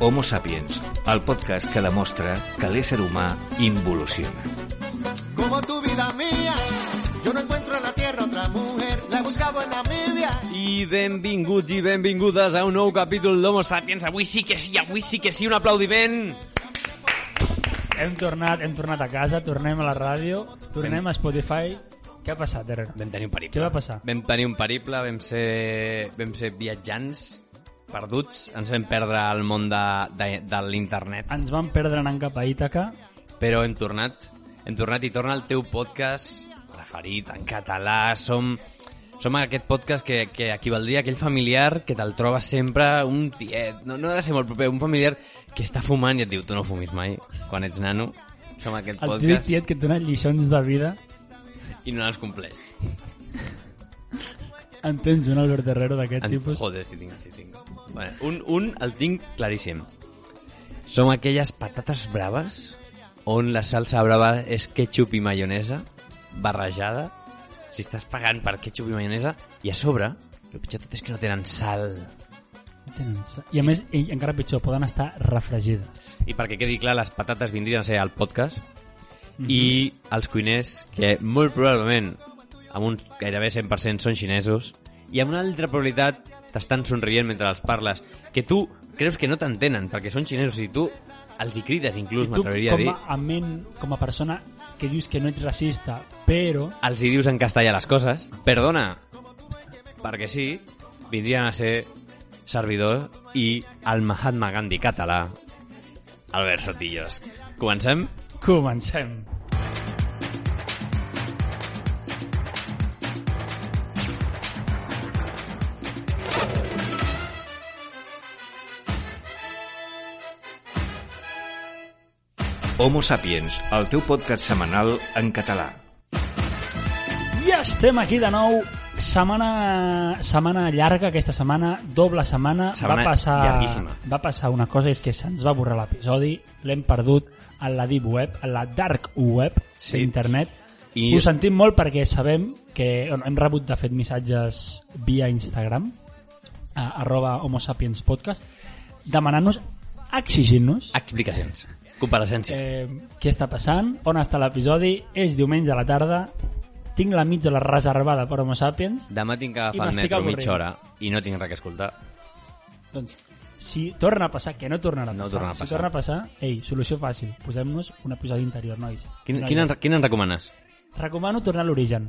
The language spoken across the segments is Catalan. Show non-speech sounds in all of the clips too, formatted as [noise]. Homo Sapiens, el podcast que demostra que l'ésser humà involuciona. Como tu vida mía, yo no encuentro en la tierra otra mujer, la he buscado en Namibia. I benvinguts i benvingudes a un nou capítol d'Homo Sapiens. Avui sí que sí, avui sí que sí, un aplaudiment. Hem tornat, hem tornat a casa, tornem a la ràdio, tornem a Spotify. Què ha passat, Eren? Vam tenir un periple. Què va passar? Vam tenir un periple, vam ser, vam ser viatjants perduts, ens vam perdre al món de, de, de l'internet, Ens vam perdre anant cap a Ítaca. però hem tornat, hem tornat i torna el teu podcast preferit en català, som... Som aquest podcast que, que equivaldria a aquell familiar que te'l troba sempre un tiet, no, no ha de ser molt proper, un familiar que està fumant i et diu tu no fumis mai quan ets nano. Som aquest El tio podcast tiet que et dona lliçons de vida. i no les compleix. En tens un Albert Herrero d'aquest En- tipus? Joder, si tinc, si tinc. Bueno, un, un el tinc claríssim. Som aquelles patates braves on la salsa brava és ketchup i maionesa barrejada. Si estàs pagant per ketchup i maionesa i a sobre, el pitjor de tot és que no tenen sal. No tenen sa- I a més, i encara pitjor, poden estar refregides. I perquè quedi clar, les patates vindrien a ser al podcast Mhm. i els cuiners que molt probablement amb un gairebé 100% són xinesos i amb una altra probabilitat t'estan sonrient mentre els parles que tu creus que no t'entenen perquè són xinesos i tu els hi crides inclús tu, m'atreviria a com dir a, a ment, com a persona que dius que no ets racista, però els hi dius en castellà les coses perdona perquè sí vindrien a ser servidor i el Mahatma Gandhi català Albert Sotillos comencem? comencem. Homo Sapiens, el teu podcast setmanal en català. I estem aquí de nou. Setmana, setmana llarga aquesta setmana, doble setmana. Setmana va passar, llarguíssima. Va passar una cosa, és que se'ns va borrar l'episodi, l'hem perdut a la deep web, a la dark web Sí. d'internet. I- I... Ho sentim molt perquè sabem que bueno, hem rebut, de fet, missatges via Instagram, a, arroba homo sapiens podcast, demanant-nos, exigint-nos explicacions compareixences Eh, què està passant? On està l'episodi? És diumenge a la tarda. Tinc la mitja la reservada per Homo Sapiens. Demà tinc que I agafar el m'estic metro avorrint. mitja hora i no tinc res que escoltar. Doncs, si torna a passar, que no tornarà a No passar, tornarà a si passar. torna a passar, ei, solució fàcil, posem-nos un episodi interior, nois. Quin, Noies. quin, en, quin en recomanes? Recomano tornar a l'origen.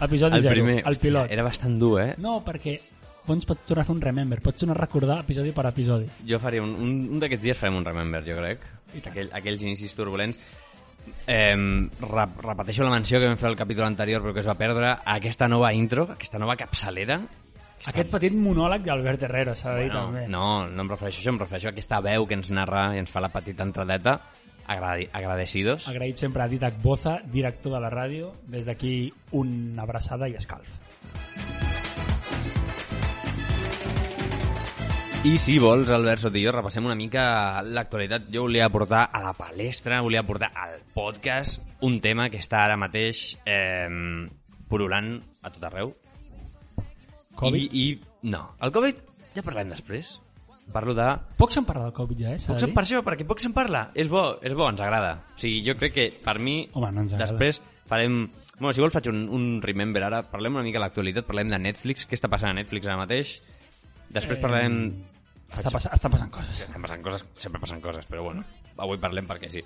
Episodi 0, el Hòstia, pilot. Era bastant dur, eh? No, perquè doncs pots tornar a fer un remember, pots tornar a recordar episodi per episodi. Jo faré un, un, un d'aquests dies farem un Remember, jo crec. Aquell, aquells inicis turbulents. Eh, rep, repeteixo la menció que vam fer al capítol anterior però que es va perdre aquesta nova intro, aquesta nova capçalera Aquest petit monòleg d'Albert Herrero s'ha de dir no, també. no, no em refereixo a això, em refereixo a aquesta veu que ens narra i ens fa la petita entradeta agradi, agradecidos Agraït sempre a Didac Boza, director de la ràdio. Des d'aquí, una abraçada i escalf. I si vols, Albert Sotillo, repassem una mica l'actualitat. Jo volia portar a la palestra, volia portar al podcast un tema que està ara mateix eh, porolant a tot arreu. Covid? I, i, no, el Covid ja parlem després. Parlo de... Poc se'n parla del Covid ja, eh? s'ha Poc de se'n dir. per això, perquè poc se'n parla. És bo, és bo, ens agrada. O sigui, jo crec que per mi... Home, no ens agrada. després farem... Bueno, si vols faig un, un remember ara. Parlem una mica de l'actualitat, parlem de Netflix, què està passant a Netflix ara mateix. Després Eh, parlarem... Està, passa, estan passant coses. estan passant coses, sempre passen coses, però bueno, avui parlem perquè sí.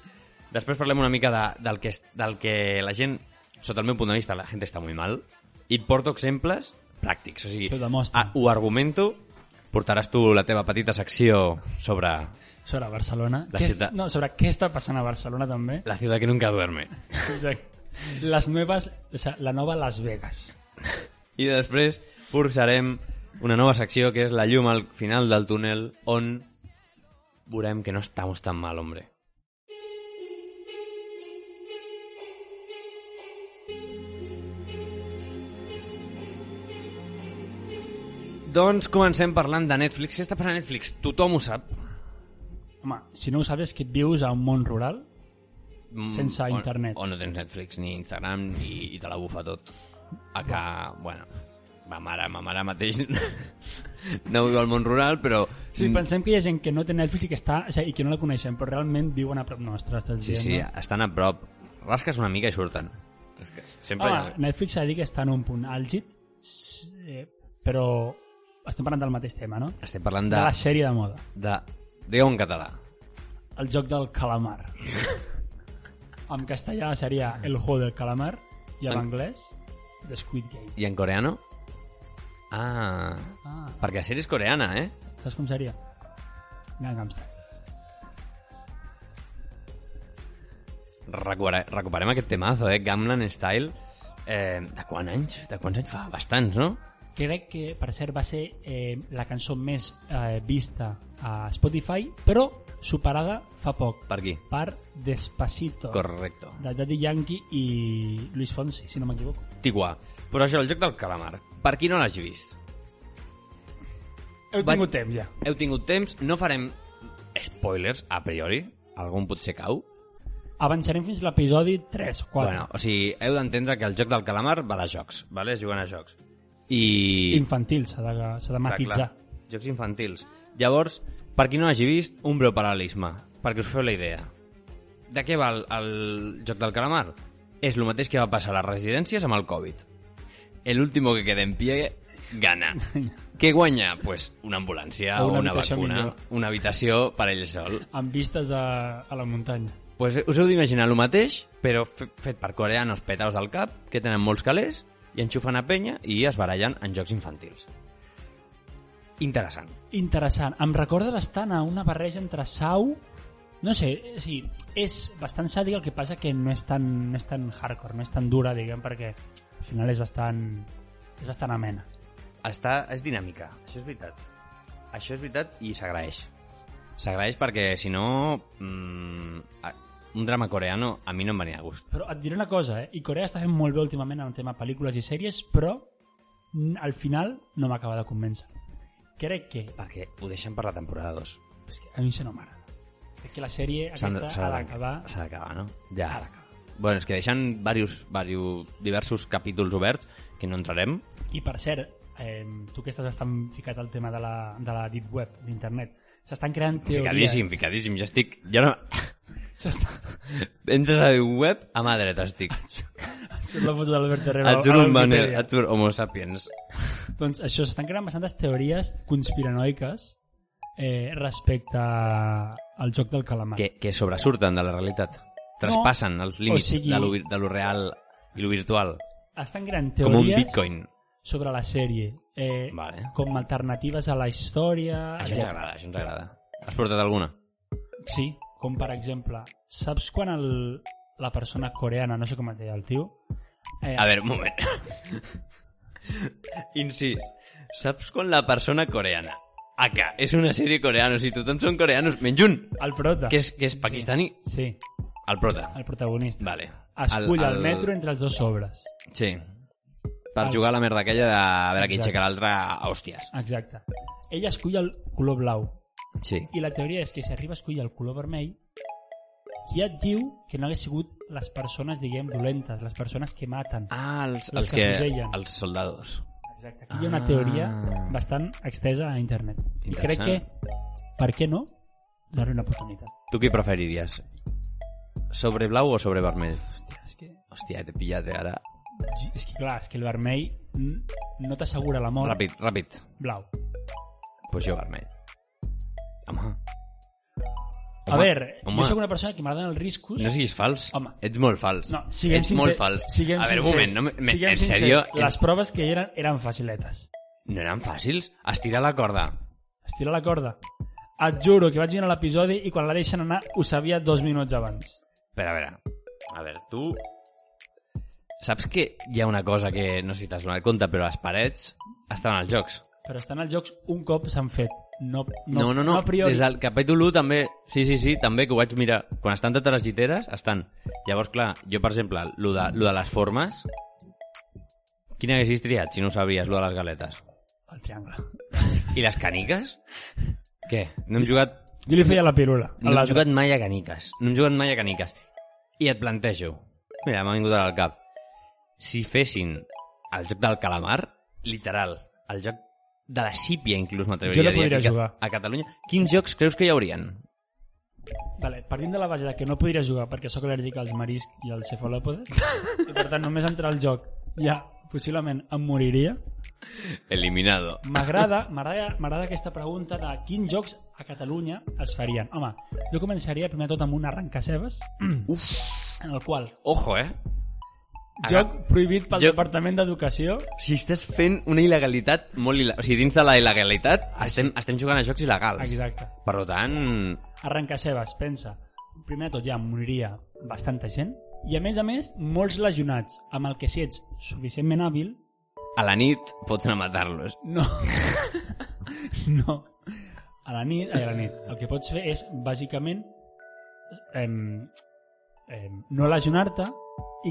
Després parlem una mica de, del, que, es- del que la gent, sota el meu punt de vista, la gent està molt mal, i et porto exemples pràctics, o sigui, T'ho demostra. a- ho argumento, portaràs tu la teva petita secció sobre Sobre Barcelona. La Què és- ciutat. No, sobre què està passant a Barcelona també. la ciutat que nunca duerme. Exacte. Les noves... O sea, la nova Las Vegas. I després forçarem una nova secció que és la llum al final del túnel, on veurem que no estamos tan mal, hombre. Doncs comencem parlant de Netflix. Què està passant a Netflix? Tothom ho sap. Home, si no ho sabes, que et vius a un món rural Mm, Sense o- internet. O no tens Netflix ni Instagram i, i te la bufa tot. Acá, bueno, ma mare, ma mare mateix [laughs] no viu al món rural, però... Sí, pensem que hi ha gent que no té Netflix i que, està, o sigui, i que no la coneixem, però realment viuen a prop nostra, estàs sí, dient, sí, no? estan a prop. Rasques una mica i surten. És que Sempre... Home, Netflix s'ha de dir que està en un punt àlgid, s- eh, però estem parlant del mateix tema, no? Estem parlant De de... la sèrie de moda, de... Digueu en català. el joc del calamar. en castellà seria El juego del calamar i en En- anglès The Squid Game. I en coreano? Ah... Ah, Perquè la sèrie és coreana, eh? saps com seria? Gangnam Style. Recupera- Recuperem aquest temazo, eh? Gamlan Style. Eh, de quants anys? De quants anys fa? Bastants, no? Crec que, per cert, va ser eh, la cançó més eh, vista a Spotify, però superada fa poc Per aquí. per Despacito Correcto. de Daddy Yankee i Luis Fonsi, si no m'equivoco. Tiguà. Però això, el joc del calamar, per qui no l'hagi vist? Heu Va- tingut temps ja. Heu tingut temps, no farem spoilers a priori, algun potser cau. Avançarem fins a l'episodi 3 o 4. Bueno, o sigui, heu d'entendre que el joc del calamar va de jocs, vale? es juguen a jocs. I... Infantil, s'ha de, s'ha de matitzar. Clar, clar. Jocs infantils. Llavors, per qui no hagi vist, un breu paral·lelisme, perquè us feu la idea. De què va el, el joc del calamar? És el mateix que va passar a les residències amb el Covid. El último que queda en pie [laughs] gana. Què guanya? Pues una ambulància O o una una, habitació vacuna, millor. una habitació per ell sol. Amb vistes a, a la muntanya. Pues us heu d'imaginar el mateix, però fe- fet per coreanos petaos del cap, que tenen molts calés, i enxufen a penya i es barallen en jocs infantils. Interessant. Interessant. Em recorda bastant a una barreja entre Sau... No sé, o sigui, és bastant sàdic, el que passa que no és tan, no és tan hardcore, no és tan dura, diguem, perquè al final és bastant, és bastant amena. està, és dinàmica, això és veritat. Això és veritat i s'agraeix. S'agraeix perquè, si no, mm, a- un drama coreano a mi no em venia a gust. Però et diré una cosa, eh? i Corea està fent molt bé últimament en el tema pel·lícules i sèries, però mm, al final no m'acaba de convèncer. Crec que... Perquè ho deixen per la temporada 2. És que a mi això no m'agrada. Crec que la sèrie aquesta ha d'acabar... S'ha d'acabar, no? Ha Ja. d'acabar. Bueno, és que deixen varios, varios, diversos capítols oberts, que no entrarem. I per cert, eh, tu que estàs bastant ficat al tema de la, de la deep web, d'internet, s'estan creant teories... Ficadíssim, ficadíssim, ja estic... Ja no... S'està... Entres a la web, a mà dreta estic. Surt la foto d'Albert Herrera. Et juro un banner, et juro homo sapiens. Doncs això, s'estan creant bastantes teories conspiranoiques eh, respecte al joc del calamar. que, que sobresurten de la realitat. Traspassen els límits o sigui- de, lo, vir- de lo real i lo virtual. Estan creant Com teories... un bitcoin. sobre la sèrie eh, Vale. com alternatives a la història Això ens etcètera. agrada, això ens agrada. Has portat alguna? sí, com per exemple saps quan el, la persona coreana no sé com es deia el tio eh, A veure, un moment. [laughs] Incís. Saps quan la persona coreana... Aka, és una sèrie coreana, o sigui, tothom són coreanos, menys un, el prota que és, que és pakistaní, sí, el prota. el protagonista Vale. escull el, metro entre els dos sobres Sí. Per El- jugar a la merda aquella de a veure qui Exacte. aixeca l'altre a hòsties. exacte ella escull el color blau Sí. i la teoria és que si arriba a escollir el color vermell qui et diu que no hagués sigut les persones, diguem, dolentes, les persones que maten. Ah, els, Els els que que... fusellen. Els soldados. Exacte. Aquí hi ha una Ah. teoria bastant extesa a internet. I crec Interessant. que, per què no, donar una oportunitat. ¿Tú qué preferirías? ¿Sobre blau o sobre vermell? Hòstia, és que, Hòstia, te pillate ara. és que clar, és que el vermell mm, no t'assegura la mort. Ràpid, ràpid. Blau. Pues jo vermell. Home. A veure, home. jo sóc una persona que m'agraden els riscos. No siguis fals. Home. Ets molt fals. No, siguem Ets sincers. molt fals. Siguem a veure, un moment. sincers, No, me- me, siguem en sèrio, sincers. Les proves que hi eren, eren faciletes. no eren fàcils? Estira la corda. Estira la corda. Et juro que vaig mirar l'episodi i quan la deixen anar ho sabia dos minuts abans. Però a veure, a veure, tu... Saps que hi ha una cosa que no sé si t'has donat compte, però les parets estan als jocs. Però estan als jocs un cop s'han fet. No, No, no, no, a priori. des del capítol 1 també, sí, sí, sí, també que ho vaig mirar. Quan estan totes les lliteres, estan. Llavors, clar, jo, per exemple, lo de, lo de les formes, quina haguessis triat si no ho sabries, lo de les galetes? El triangle. I les caniques? Què? No hem jugat, Jo li feia la pirula. a no hem l'altre. jugat mai a caniques. No hem jugat mai a caniques. I et plantejo. Mira, m'ha vingut ara al cap. Si fessin el joc del calamar, literal, el joc de la sípia, inclús, Jo m'atreviria no a dir. podria aquí a- jugar. A Catalunya. Quins jocs creus que hi haurien? Vale, partint de la base de que no podria jugar perquè sóc al·lèrgic als mariscs i als [laughs] cefalòpodes, i per tant només entrar al joc ja possiblement em moriria, Eliminado. m'agrada m'agrada m'agrada aquesta pregunta de quins jocs a Catalunya es farien. Home, jo començaria primer de tot amb un arrencacebes, Uf. en el qual Ojo, eh? joc prohibit pel Joc- Departament d'Educació Si estàs fent una il·legalitat molt... Il·le... O sigui, dins de la il·legalitat estem, estem jugant a jocs il·legals. Exacte. Per tant... Arrencacebes, pensa. Primer de tot ja moriria bastanta gent i a més a més molts lesionats amb el que si ets suficientment hàbil A la nit pots anar a matar-los. No. [laughs] no. A la nit, ai, a la nit, el que pots fer és, bàsicament, em, em, no lesionar-te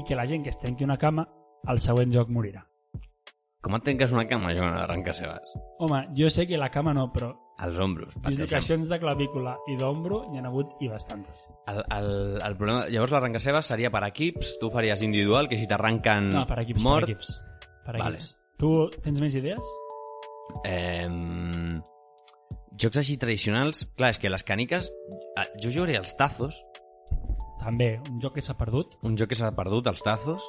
i que la gent que es trenqui una cama al següent joc morirà. Com et trenques una cama jugant a l'arrenca seves? Home, jo sé que la cama no, però Als ombros. pateixen. dislocacions de clavícula i d'ombro n'hi ha hagut i bastantes. El, el, el problema... Llavors l'arrenca seves seria per equips, tu faries individual, que si t'arrenquen No, per equips, Mm, mort... per equips. Per Vale. equips. Tu tens més idees? Eh, jocs així tradicionals... Clar, és que les càniques... eh, Jo jugaria als tazos, També, un joc que s'ha perdut. un joc que s'ha perdut, els tazos.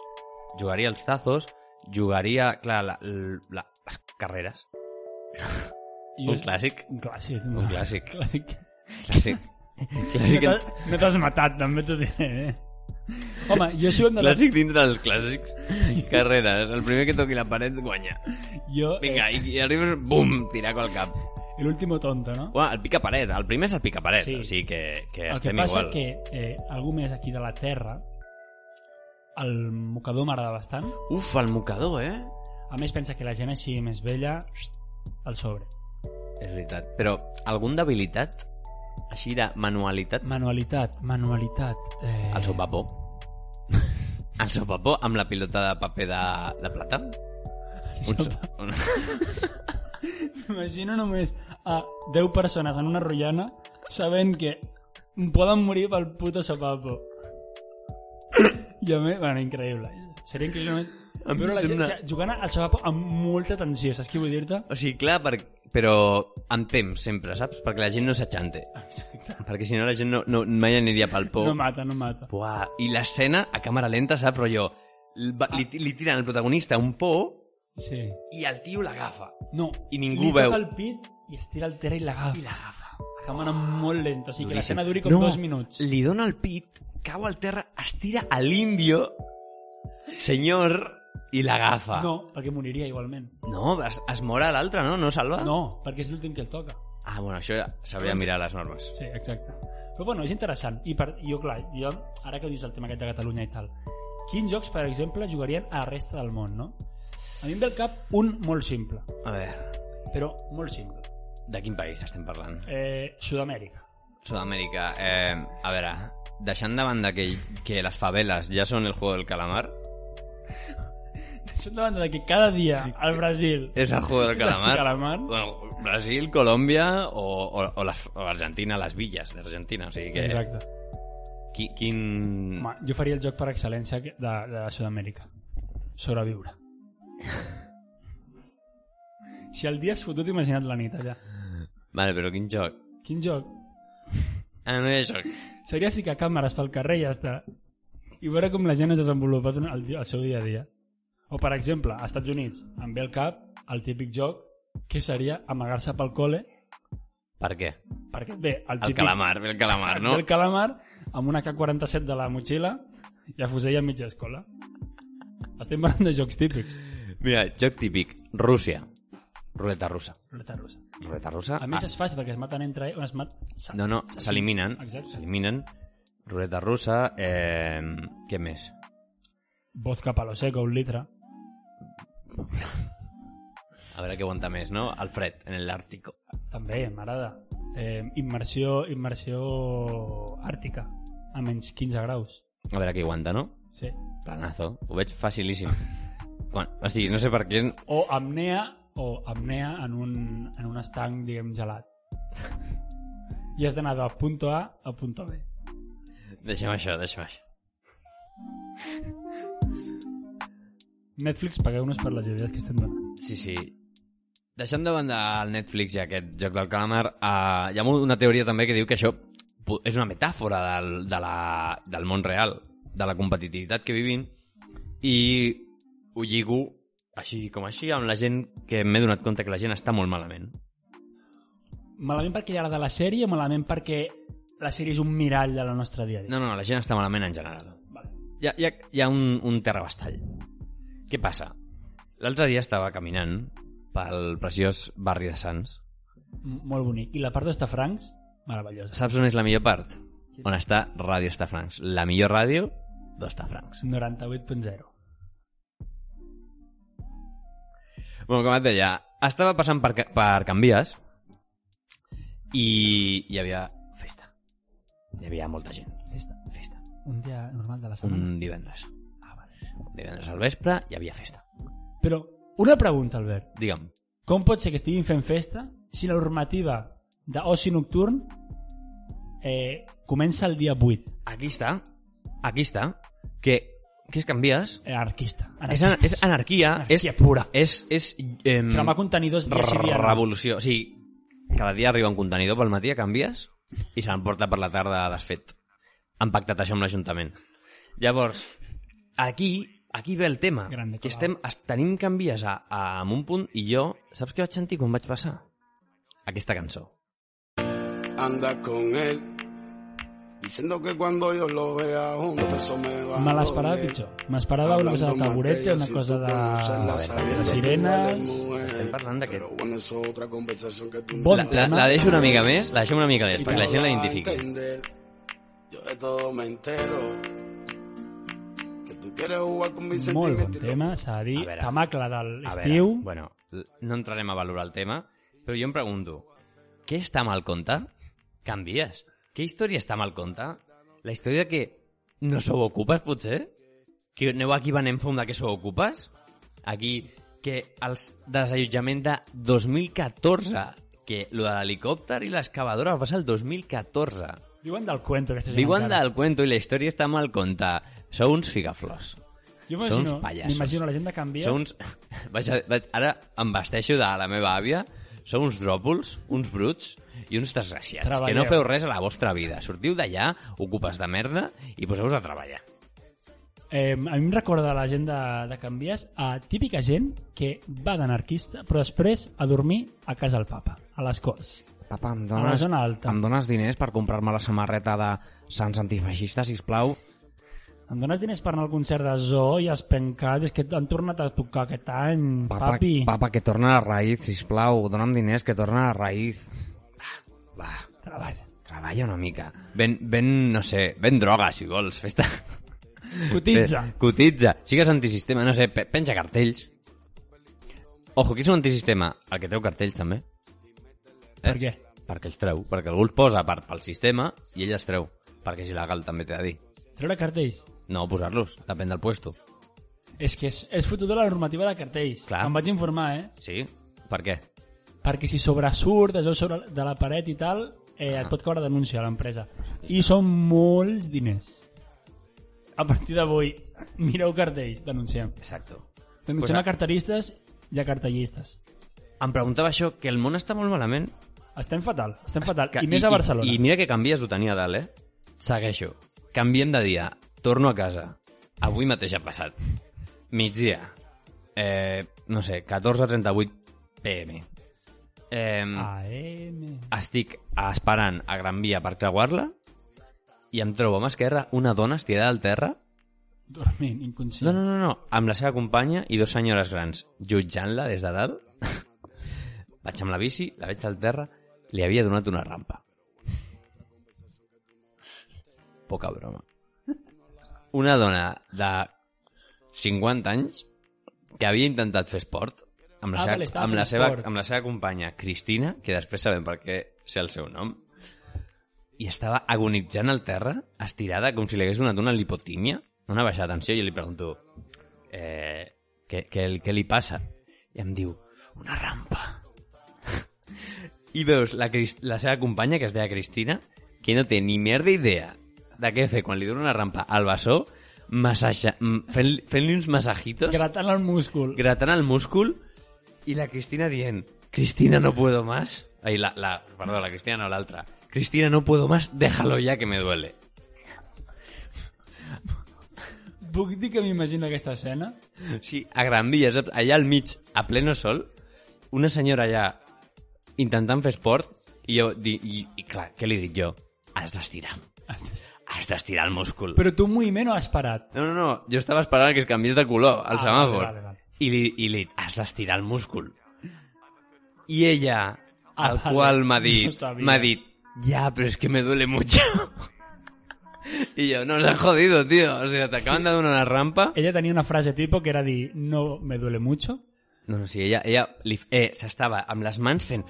Jugaria als tazos, jugaria, clar, la, la, les carreres. I Un clàssic. Un clàssic. Un clàssic. [laughs] clàssic. Clàssic. [laughs] clàssic, No t'has- No t'has matat, també t'ho diré. eh? Home, jo si ho hem de... clàssic dintre dels clàssics. Carreres. El primer que toqui la paret guanya. Jo, Vinga, i, i arribes, bum, tirar col cap. eh, l'último tonto, no? Bueno, el pica paret, el primer és el pica paret, Sí. sí. o sigui que, que El que estem passa igual. que eh, algú més aquí de la Terra el mocador m'agrada bastant. Uf, el mocador, eh? A més, pensa que la gent així més vella al sobre. És veritat. Però algun d'habilitat? Així de manualitat? Manualitat, manualitat. Eh... El [laughs] sopapó. El sopapó amb la pilota de paper de, de plata. Un, so- un, M'imagino només a 10 persones en una rotllana sabent que poden morir pel puto sopapo. I a més, bueno, increïble. Seria increïble només Em veure la gent sembla- o sigui, jugant al sopapo amb molta tensió, saps què vull dir-te? o sigui, clar, per, però amb temps sempre, saps? Perquè la gent no s'aixante. Exacte. Perquè si no la gent no, no, mai aniria pel por. No mata, no mata. Buah, I l'escena a càmera lenta, saps? Rotllo, va- li, li tiren al protagonista un por Sí. i el tio l'agafa. No, I ningú li toca veu. el pit i estira el terra i I l'agafa. l'agafa. La càmera molt lenta, o sigui que l'escena duri com No, dos minuts. Li dona el pit, cau al terra, estira a l'indio, senyor, i l'agafa. No, perquè moriria igualment. No, es, es mora l'altre, no? No salva? No, Doncs- perquè és l'últim que el toca. Ah, bueno, això ja s'hauria de mirar les normes. Sí, exacte. Però bueno, és interessant. I per, jo, clar, jo, ara que dius el tema aquest de Catalunya i tal, quins jocs, per exemple, jugarien a la resta del món, no? A mi em ve al cap un molt simple, A veure, però molt simple. de quin país estem parlant? Eh, Sud-amèrica. [laughs] Sud-amèrica. Eh, a veure, deixant de banda que, que les faveles ja són el juego del calamar, Deixant de banda de que cada dia al Brasil... és el juego del calamar. [laughs] Calamar. Bueno, Brasil, Colòmbia o, o, o, les, o Argentina, les villas d'Argentina. O sigui que... Mm. Exacte. Qui, quin... Home, jo faria el joc per excel·lència que- de, de Sud-amèrica. [laughs] Sobreviure. si el dia és fotut, imagina't la nit allà. Vale, però quin joc? Quin joc? Ah, no hi ha joc. Seria ficar càmeres pel carrer i ja està. I veure com la gent es desenvolupa durant el, el seu dia a dia. O, per exemple, als Estats Units, em ve al cap el típic joc que seria amagar-se pel col·le Per què? perquè et ve el El típic... calamar, el calamar, no? El calamar amb una K-47 de la motxilla i a fusella a mitja escola. Estem parlant de jocs típics. Mira, joc típic. Rússia. Ruleta russa. Ruleta russa. Ruleta russa? A més és fàcil perquè es maten entre ells. Es mat... s'ha- No, no, s'ha- s'eliminen. Exacte. S'eliminen. Ruleta russa, eh... què més? Vodka palo seco, un litre. A veure què aguanta més, no? El fred, en l'Àrtico. També, m'agrada. Eh, immersió, immersió àrtica, a menys 15 graus. A veure què aguanta, no? Sí. Planazo. Ho veig facilíssim. Bueno, o sigui, no sé per què... O apnea o apnea en un, en un estanc, diguem, gelat. [laughs] I has d'anar del punt A al punt B. Deixem això, deixem això. Netflix, pagueu-nos per les idees que estem donant. Sí, sí. Deixant de banda el Netflix i aquest joc del calamar, eh, hi ha molt- una teoria també que diu que això pu- és una metàfora del, de la, del món real, de la competitivitat que vivim, i ho lligo així com així amb la gent que m'he donat compte que la gent està molt malament. Malament perquè hi ha de la sèrie, malament perquè la sèrie és un mirall de la nostra dia a dia. No, no, la gent està malament en general. Vale. Hi ha, hi ha, hi ha un, un terrabastall. Què passa? L'altre dia estava caminant pel preciós barri de Sants. M- Molt bonic. I la part d'Estafrancs, meravellosa. Saps on és la millor part? On està Ràdio Estafrancs. La millor ràdio d'Estafrancs. 98.0. Bueno, com et deia, estava passant per, Ca- per Can Vies i hi havia festa. Hi havia molta gent. Festa. Festa. Un dia normal de la setmana. Un divendres. Ah, vale. Divendres al vespre hi havia festa. Però una pregunta, Albert. Digue'm. Com pot ser que estiguin fent festa si la normativa d'oci nocturn eh, comença el dia eh, 8? Aquí està. Aquí està. Que, que és Can Vies? Anarquista. És, an és anarquia. Anarquia és, pura. És, és, em, Cremar contenidors dia sí dia no. revolució. O sigui, cada dia arriba un contenidor pel matí, canvies, i se l'emporta per la tarda desfet. Han pactat això amb l'Ajuntament. Llavors, aquí, aquí ve el tema. Grande, que Colau. estem, es, tenim canvies a, a, a un punt i jo, saps què vaig sentir quan vaig passar? Aquesta cançó. anda con él. Diciendo que cuando yo lo vea junto, eso me va Me a l'esperava doler. pitjor. M'esperava una cosa de Hablando taburete, más una si cosa tú de, conocerla, de sabiendo les que sirenes... huele mujer. Estem parlant d'aquest. Pero bueno, eso es otra conversación que tú Bon La, no la, tema. la deixo una mica més, la deixem una mica més, I perquè la vas gent la a identifiqui. entender. Yo de todo me entero. Que tú quieres jugar con mis Molt bon sentimientos y lo tema, s'ha de dir. A veure. Tamacle de A l'estiu. veure, bueno, l- no entrarem a valorar el tema, però jo em pregunto, què està mal contar? Canvies. Què història està mal contar? La història que no sou ocupes, potser? Que aneu aquí venent fum de que sou ocupes? Aquí, que els desallotjament de 2014, que lo de l'helicòpter i l'excavadora va passar el 2014. Viuen del cuento, aquesta gent. Diuen encara. del cuento i la història està mal contar. Sou uns figaflors. Són Jo m'imagino- uns pallassos. M'imagino la gent de Can Vies. Són uns... [laughs] Vaig a... Vaig... Ara em vesteixo de la meva àvia. Sou uns dròpols, uns bruts i uns desgraciats. Que Treballeu. no feu res a la vostra vida. Sortiu d'allà, ocupes de merda i poseu-vos a treballar. Eh, a mi em recorda la gent de, de Can Vies a típica gent que va d'anarquista però després a dormir a casa del papa, a les Corts. Papa, em dones- A la zona alta. em dones diners per comprar-me la samarreta de Sants Antifeixistes, sisplau? Em dones diners per anar al concert de Zoo i els pencades que han tornat a tocar aquest any, papi? papa, que torna a la raïz, sisplau. Dona'm diners, que torna a la raïz. Va, va. Treballa. Treballa una mica. Ven, ven, no sé, ven droga, si vols. Festa. Cotitza. Eh, Cotitza. Sigues antisistema, no sé, pe- penja cartells. Ojo, qui és un antisistema? El que treu cartells, també. Eh, Per què? Perquè els treu. Perquè algú els posa per, pel sistema i ell els treu. Perquè és il·legal, també t'he de dir. Treure cartells? No posar-los, depèn del puesto. És que és, és fotuda la normativa de cartells. Clar. Em vaig informar, eh? Sí? Per què? perquè si sobresurt, es veu sobre de la paret i tal, eh, Ah. et pot caure denúncia a l'empresa. I són molts diners. A partir d'avui, [laughs] mireu cartells, denunciem. Exacto. Denunciem Pues, a carteristes i a cartellistes. Em preguntava això, que el món està molt malament. Estem fatal, estem fatal. Que- I, més a Barcelona. I, mira que canvies, ho tenia a dalt, eh? Segueixo. Canviem de dia. Torno a casa. Avui mateix ha passat. Migdia. Eh, no sé, 14.38 pm. Eh, Ah. AM. Estic esperant a Gran Via per creuar-la i em trobo a mà esquerra una dona estirada al terra Dormint, inconscient. no, no, no, no. Amb la seva companya i dos senyores grans, jutjant-la des de dalt. [laughs] Vaig amb la bici, la veig al terra, li havia donat una rampa. Poca broma. Una dona de 50 anys que havia intentat fer esport amb la, Ah, seva, vale, estava amb, la fent seva, esport. amb la seva companya Cristina, que després sabem per què sé el seu nom, i estava agonitzant al terra, estirada, com si li hagués donat una lipotímia, una baixa de tensió, i jo li pregunto eh, què, què, què li passa? I em diu, una rampa. [laughs] I veus la, Cris- la seva companya, que es deia Cristina, que no té ni merda idea de què fer quan li dona una rampa al bessó, massaja- mm, fent-li fent uns massajitos, Gratant el múscul. gratant el múscul, i la Cristina dient, Cristina, no puedo más. Ai, la, la, perdó, la Cristina no, l'altra. Cristina, no puedo más, déjalo ya que me duele. Puc dir que m'imagino aquesta escena? [laughs] Sí, a Gran Via, saps? allà al mig, a pleno sol, una senyora allà intentant fer esport i jo, di, i, i clar, què li dic jo? Has d'estirar, has d'estirar el múscul. Però tu un moviment no has parat. No, no, no, jo estava esperant que es canviés de color al Ah, semàfor. vale, vale, vale. I, li, I li has d'estirar el múscul. I ella, Ah, al vale. qual m'ha No dit, sabia. m'ha dit, ya, pero es que me duele mucho. [laughs] I jo, no, l'ha jodido, tío. O sea, t'acaben de donar una rampa. Ella tenia una frase tipo que era dir no me duele mucho. No, no, sí, ella, ella li- eh, s'estava amb les mans fent...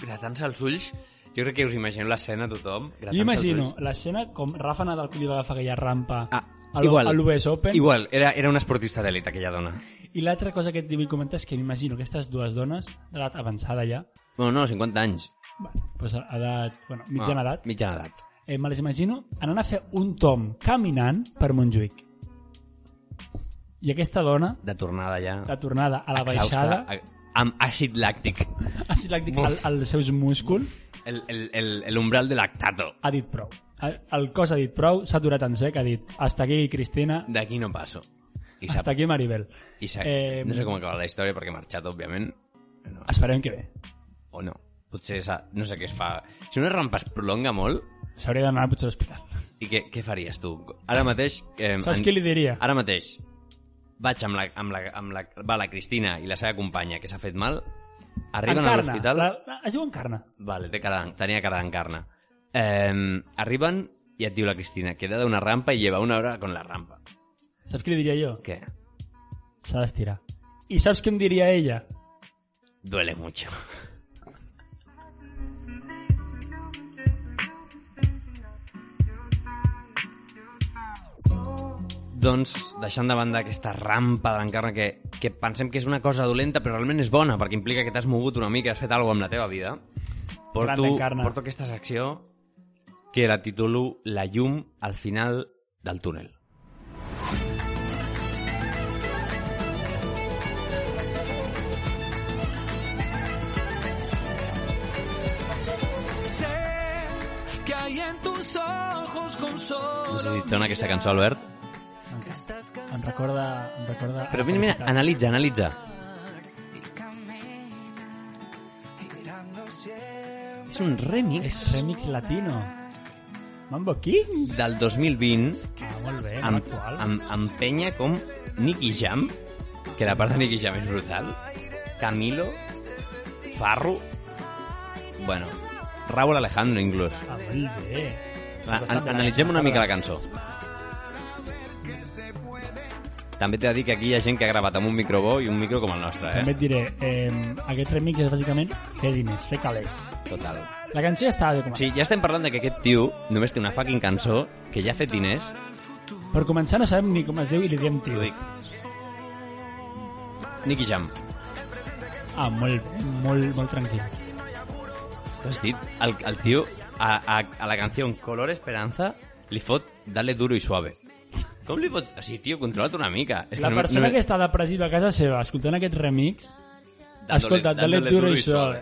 gratant-se els ulls. Jo crec que us imagineu l'escena, tothom. gratant-se Jo imagino els ulls. l'escena com Rafa Nadal li va agafar aquella rampa Ah, a igual. l'UBS Open Igual, era, era una esportista d'elit, aquella dona. i l'altra cosa que et vull comentar és que m'imagino aquestes dues dones d'edat avançada ja Bueno, no, 50 anys. bueno, doncs edat, bueno, Ah. mitjana edat Mitjana edat. eh, me les imagino anant a fer un tom caminant per Montjuïc i aquesta dona De tornada ja. la tornada a la Exhausta, baixada a- amb àcid làctic. [laughs] així làctic al, als seus músculs El, el, el, el umbral de lactato. ha dit prou el, el cos ha dit prou, s'ha aturat en sec ha dit hasta aquí Cristina, D'aquí no passo. I s'ha... hasta aquí Maribel I s'ha... Eh, No sé com acaba la història perquè ha marxat, òbviament. No. esperem que bé O no. Potser s'ha- no sé què es fa. Si una rampa es prolonga molt, s'hauria d'anar potser a l'hospital I què, què faries tu? Ara mateix... Eh, saps què li diria? Ara mateix vaig amb la, amb la, amb la, va la Cristina i la seva companya que s'ha fet mal, arriben a l'hospital... La, la, es diu Encarna. Vale, té cara, d'en- tenia cara d'encarna. Eh, arriben i et diu la Cristina, queda d'una rampa i lleva una hora con la rampa. Saps què li diria jo? Què? S'ha d'estirar. I saps què em diria ella? Duele mucho. Doncs, deixant de banda aquesta rampa d'encarna que, que pensem que és una cosa dolenta, però realment és bona, perquè implica que t'has mogut una mica, has fet alguna amb la teva vida, porto, d'Encarna. porto aquesta secció que la titulo La llum al final del túnel. que hay en tus ojos con sol. No sé si et sona aquesta cançó, Albert. Em recorda... Em recorda Però mira, mira, analitza, analitza. És un remix. És remix latino. Mambo Kings? del 2020 Ah, molt bé, amb, amb, actual. amb, amb penya com Nicky Jam, que la part de Nicky Jam és brutal, Camilo, Farro, bueno, Raúl Alejandro inclús. Ah, molt bé. Eh? Va, Bastant an gran. analitzem una mica la cançó. També t'he de dir que aquí hi ha gent que ha gravat amb un micro bo i un micro com el nostre, També eh? et diré, eh, aquest remix és bàsicament fer diners, fer calés. Total. La cançó ja estava bé com a... Sí, ja estem parlant de que aquest tio només té una fucking cançó que ja ha fet diners. Per començar no sabem ni com es diu i li diem Ho tio. dic. Nicky Jam. Ah, molt bé, molt, molt tranquil. T'ho has dit? El, el tio, a, a, a la canció Color Esperanza, li fot Dale duro i suave. Com li fots? O sigui, tio, controla't una mica. És La no- persona no- que està depressiva a casa seva escoltant aquest remix Dándole- Escolta, dale duro i suave.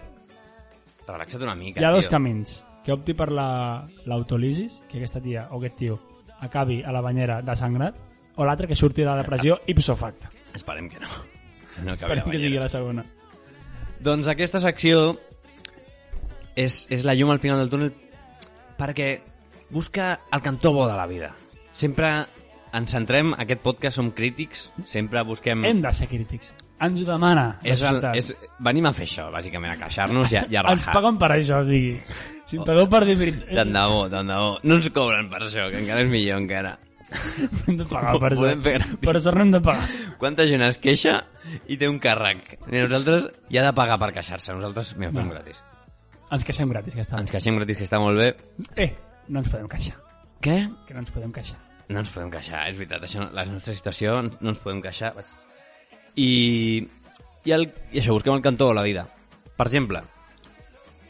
Relaxa't una mica, Hi ha dos tio. camins. Que opti per la- l'autolisis, que aquesta tia o aquest tio acabi a la banyera de sangrat, o l'altre que surti de la [laughs] depressió ipso facto. Esperem que no. No acabi la Esperem que banyera. sigui la segona. Doncs aquesta secció és, és la llum al final del túnel perquè busca el cantó bo de la vida. Sempre ens centrem, aquest podcast som crítics, sempre busquem... Hem de ser crítics. Ens ho demana la Mm. és el, societat. és, venim a fer això, bàsicament, a queixar-nos i, a- i a rajar. [laughs] Ens paguen per això, o sigui. Si em pagueu per [laughs] dir Tant veritat, de bo, tant de bo. No ens cobren per això, que encara és millor, encara. hem de pagar per Podem fer això. gratis. Per això no hem de pagar. Quanta gent es queixa i té un càrrec. I nosaltres hi ha de pagar per queixar-se. Nosaltres, mira, fem No. gratis. Ens queixem gratis, que està. Ens queixem gratis, que està molt bé. Eh, no ens podem queixar. Què? Que no ens podem queixar. No ens podem queixar, és veritat. Això, no- la nostra situació no ens podem queixar. Vaig- I I, el, I això, busquem el cantó de la vida. Per exemple,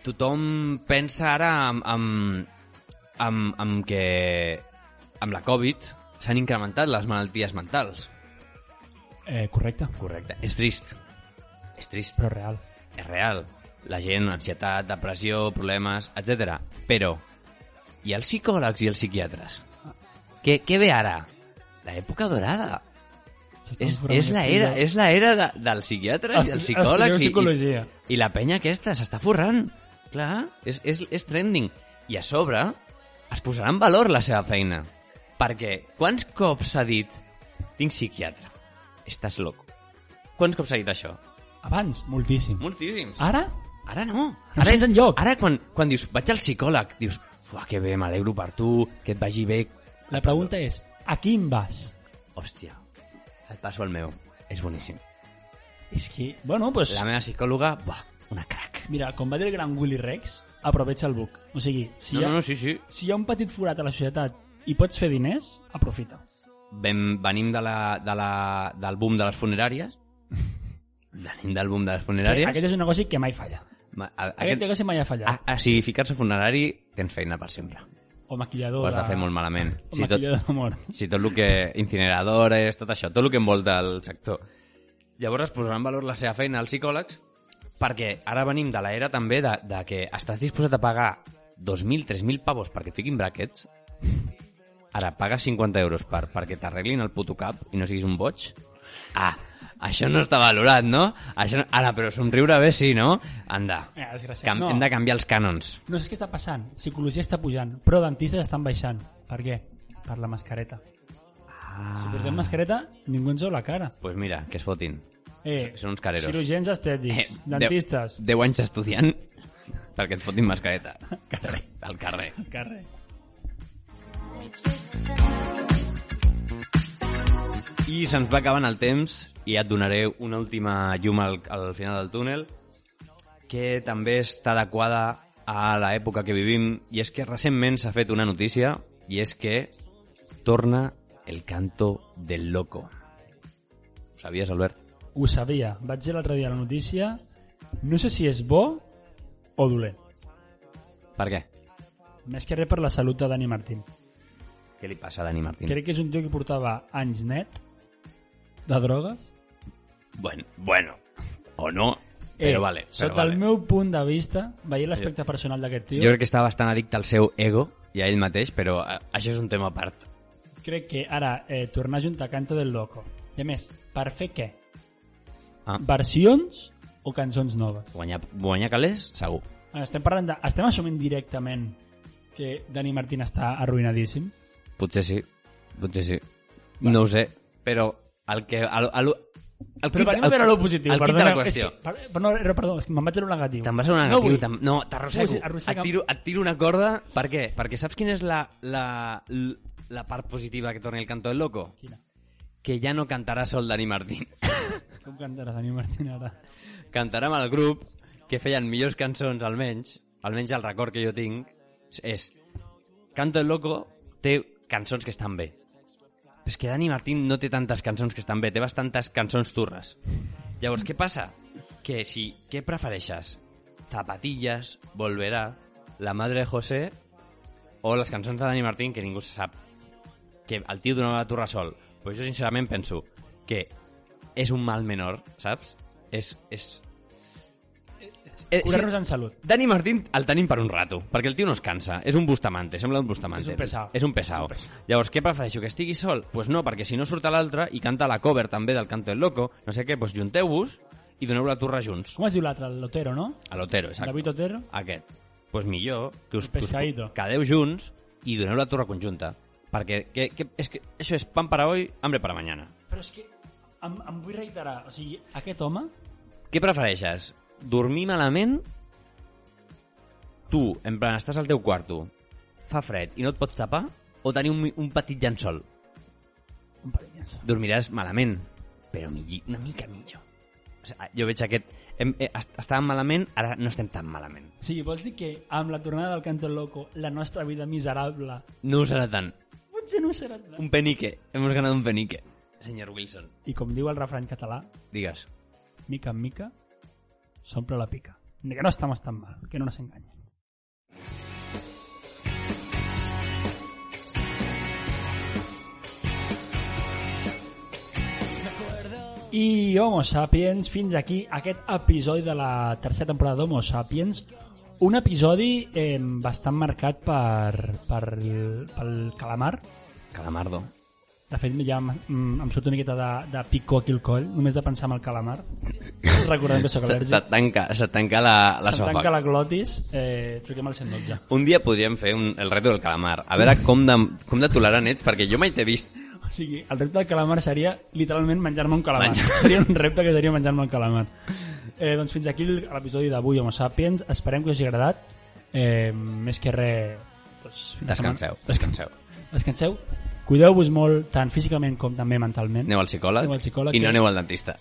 tothom pensa ara amb, amb, amb, amb que amb la Covid s'han incrementat les malalties mentals. Eh, correcte. Correcte. És trist. És trist. Però real. És real. La gent, ansietat, depressió, problemes, etc. Però, i els psicòlegs i els psiquiatres? Què, què ve ara? L'època dorada. S'estan És, forant és, la aquí, era, eh? és la era de, dels psiquiatres i Estudi- dels psicòlegs. estudieu I, psicologia. i, I la penya aquesta s'està forrant. Clar, és, és, és trending. I a sobre es posarà en valor la seva feina. Perquè quants cops s'ha dit tinc psiquiatre, estàs loco. Quants cops s'ha dit això? Abans, moltíssim. Moltíssims. Ara? Ara no. No Ara sents enlloc. Ara quan, quan dius, vaig al psicòleg, dius, fuà, que bé, m'alegro per tu, que et vagi bé. La pregunta és, a quin vas? Hòstia, et passo el meu. És boníssim. És que, bueno, pues, La meva psicòloga, buah, una crac. mira, com va dir el gran Willy Rex, aprovecha el buc. O sigui, si, No, hi ha, no, no, sí, sí. si hi ha un petit forat a la societat i pots fer diners, aprofita. Vam, venim de la, de la, del boom de les [laughs] funeràries. Venim del boom de les funeràries. Aquest és un negoci que mai falla. Ma- a- Aquest, aquest, Ah. negoci mai ha fallat. a, a, si ficar-se funerari, tens feina per sempre. o maquillador Ho has de fer molt malament. O Si tot, maquillador de mort. si tot el que... Incineradores, tot això, tot el que envolta el sector. Llavors es posarà en valor la seva feina als psicòlegs perquè ara venim de l'era també de, de que estàs disposat a pagar 2.000, 3.000 pavos perquè et fiquin brackets ara paga 50 euros per, perquè t'arreglin el puto cap i no siguis un boig ah, això no està valorat, no? Això no... Ara, però somriure bé sí, no? Anda, Eh, desgraciat. Cam No. hem de canviar els cànons No sé què està passant. Psicologia està pujant, però dentistes estan baixant. Per què? Per la mascareta. Ah. Si portem mascareta, ningú ens veu la cara. pues mira, que es fotin Eh, Són uns careros. Cirurgians estètics, eh, dentistes. 10 anys estudiant perquè et fotin [laughs] mascareta. Al carrer. De... Carrer. I se'ns va acabant el temps i ja et donaré una última llum al, al final del túnel que també està adequada a l'època que vivim i és que recentment s'ha fet una notícia i és que torna el canto del loco. Ho sabies, Albert? Ho sabia. Vaig dir l'altre dia la notícia. No sé si és bo o dolent. Per què? Més que res per la salut de Dani Martín. Mm. Què li passa a Dani Martín? Crec que és un tio que portava anys net de drogues. Bueno, bueno, o no, Eh, però vale. Però sota vale. el meu punt de vista, veient l'aspecte personal d'aquest tio, Jo crec que està bastant addicte al seu ego i a ell mateix, però eh, això és un tema a part. crec que ara eh, tornar a juntar Canto del Loco. I a més, per fer què? Ah. Versions o cançons noves? Guanyar, guanyar calés, segur. Bueno, estem parlant de... Estem assumint directament que Dani Martín està arruïnadíssim. Potser sí, potser sí. No ho sé, però el que... El, el, el Però venim a veure lo positiu. El, el quid de perdoneu, la qüestió. És que, per- per, no, eh, perdó, és que me'n vaig a lo negatiu. Te'n vas a una No negatiu. vull. te'n- No, No t'arrossego. vull, arrossega'm. et, tiro, et tiro una corda. Per què? Perquè saps quina és la, la, la part positiva que torna el canto del loco? Quina? Que ja no cantarà sol Dani Martín. [laughs] Com cantarà Dani Martín ara? cantarà amb el grup que feien millors cançons almenys, almenys el record que jo tinc, és Canto el Loco té cançons que estan bé. Però és que Dani Martín no té tantes cançons que estan bé, té bastantes cançons turres. Llavors, què passa? Que si, què prefereixes? Zapatillas, Volverá, La Madre de José o les cançons de Dani Martín que ningú se sap. Que el tio donava la torre sol. Però jo sincerament penso que és un mal menor, saps? És... és... Eh, sí, Curar-nos en salut. Dani Martín el tenim per un rato, perquè el tio no es cansa. És un bustamante, sembla un bustamante. És un pesao. És un pesao. És un pesao. Llavors, què prefereixo? Que estigui sol? Doncs pues no, perquè si no surt a l'altre i canta la cover també del Canto del Loco, no sé què, doncs pues junteu-vos i doneu la torre junts. Com es diu l'altre? El Lotero, no? A l'Otero, exacte. David Otero? Aquest. Doncs pues millor que us, El que us pescadito. quedeu junts i doneu la torre conjunta. Perquè que, que, és que això és pan para hoy, hambre para mañana. Però és que em, em vull reiterar. O sigui, aquest home... Què prefereixes? Dormir malament? Tu, en plan, estàs al teu quarto, fa fred i no et pots tapar? O tenir un, mi- un petit llençol? Un parell de llança. Dormiràs malament, però milli, una mica millor. O sigui, jo veig aquest... Hem, eh, est- estàvem malament, ara no estem tan malament. O sigui, vols dir que amb la tornada del Canto Loco la nostra vida miserable No ho serà tant. potser no serà tant. Un penique. Hemos ganado un penique. Señor Wilson. I com diu el refrany català, Digues. mica en mica, s'omple la pica. Que no estamos tan mal, que no nos engañen. I Homo Sapiens, fins aquí aquest episodi de la tercera temporada d'Homo Sapiens. Un episodi eh, bastant marcat per, per, pel calamar. Calamardo. De fet, ja em, mm, em surt una miqueta de, de picor aquí el coll, només de pensar en el calamar. Recordem que sóc Se, al·lèrgic. se't tanca, se't tanca la, la Se'm sopa. tanca la glotis, eh, truquem al 112. Un dia podríem fer un, el reto del calamar. A veure com de, com de tolerant ets, perquè jo mai t'he vist. [laughs] O sigui, el repte del calamar seria literalment menjar-me un calamar. Menjar- [laughs] Seria un repte que seria menjar-me un calamar. Eh, doncs fins aquí l'episodi d'avui, Homo Sapiens. Esperem que us hagi agradat. Eh, més que res... Doncs, fins la Descanseu, setmana. descanseu. Descanseu. Cuideu-vos molt, tant físicament com també mentalment. Aneu al psicòleg, Aneu al psicòleg, i no que- aneu al dentista.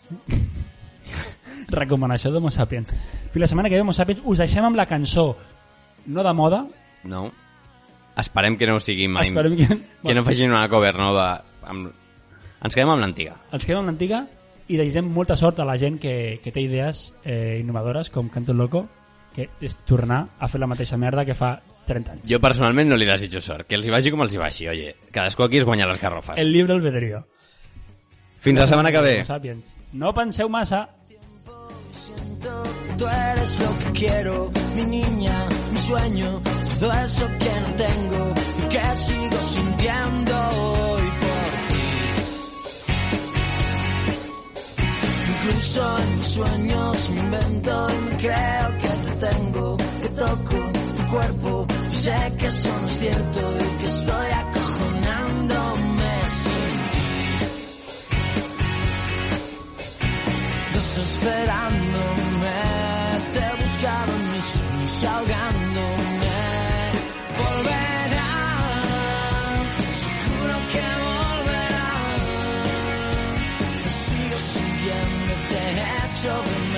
Recomanació d'Homo Sapiens. Fins la setmana que ve, Homo Sapiens. Us deixem amb la cançó no de moda. No. Esperem que no ho sigui mai. Esperem que... Que no facin una cover nova. Amb... Ens quedem amb l'antiga. ens quedem amb l'antiga i desitgem molta sort a la gent que, que té idees eh, innovadores com Canto Loco que és tornar a fer la mateixa merda que fa 30 anys Jo personalment no li desitjo sort. Que els hi vagi com els hi vagi, oye. Cadascú aquí es guanya les garrofes. el llibre albedrío Fins la setmana que ve. Homo Sapiens. no penseu massa siento, tú eres lo que quiero, mi niña, mi sueño, todo eso que no tengo y que sigo sintiendo hoy por ti. Incluso en mis sueños me invento y me creo que te tengo, que toco tu cuerpo, y sé que eso no es cierto y que estoy acojonándome sin desesperándome, te buscaba en mis sueños ahogándome. Volverá, seguro que volverá. Te sigo sintiendo, te echo de menos.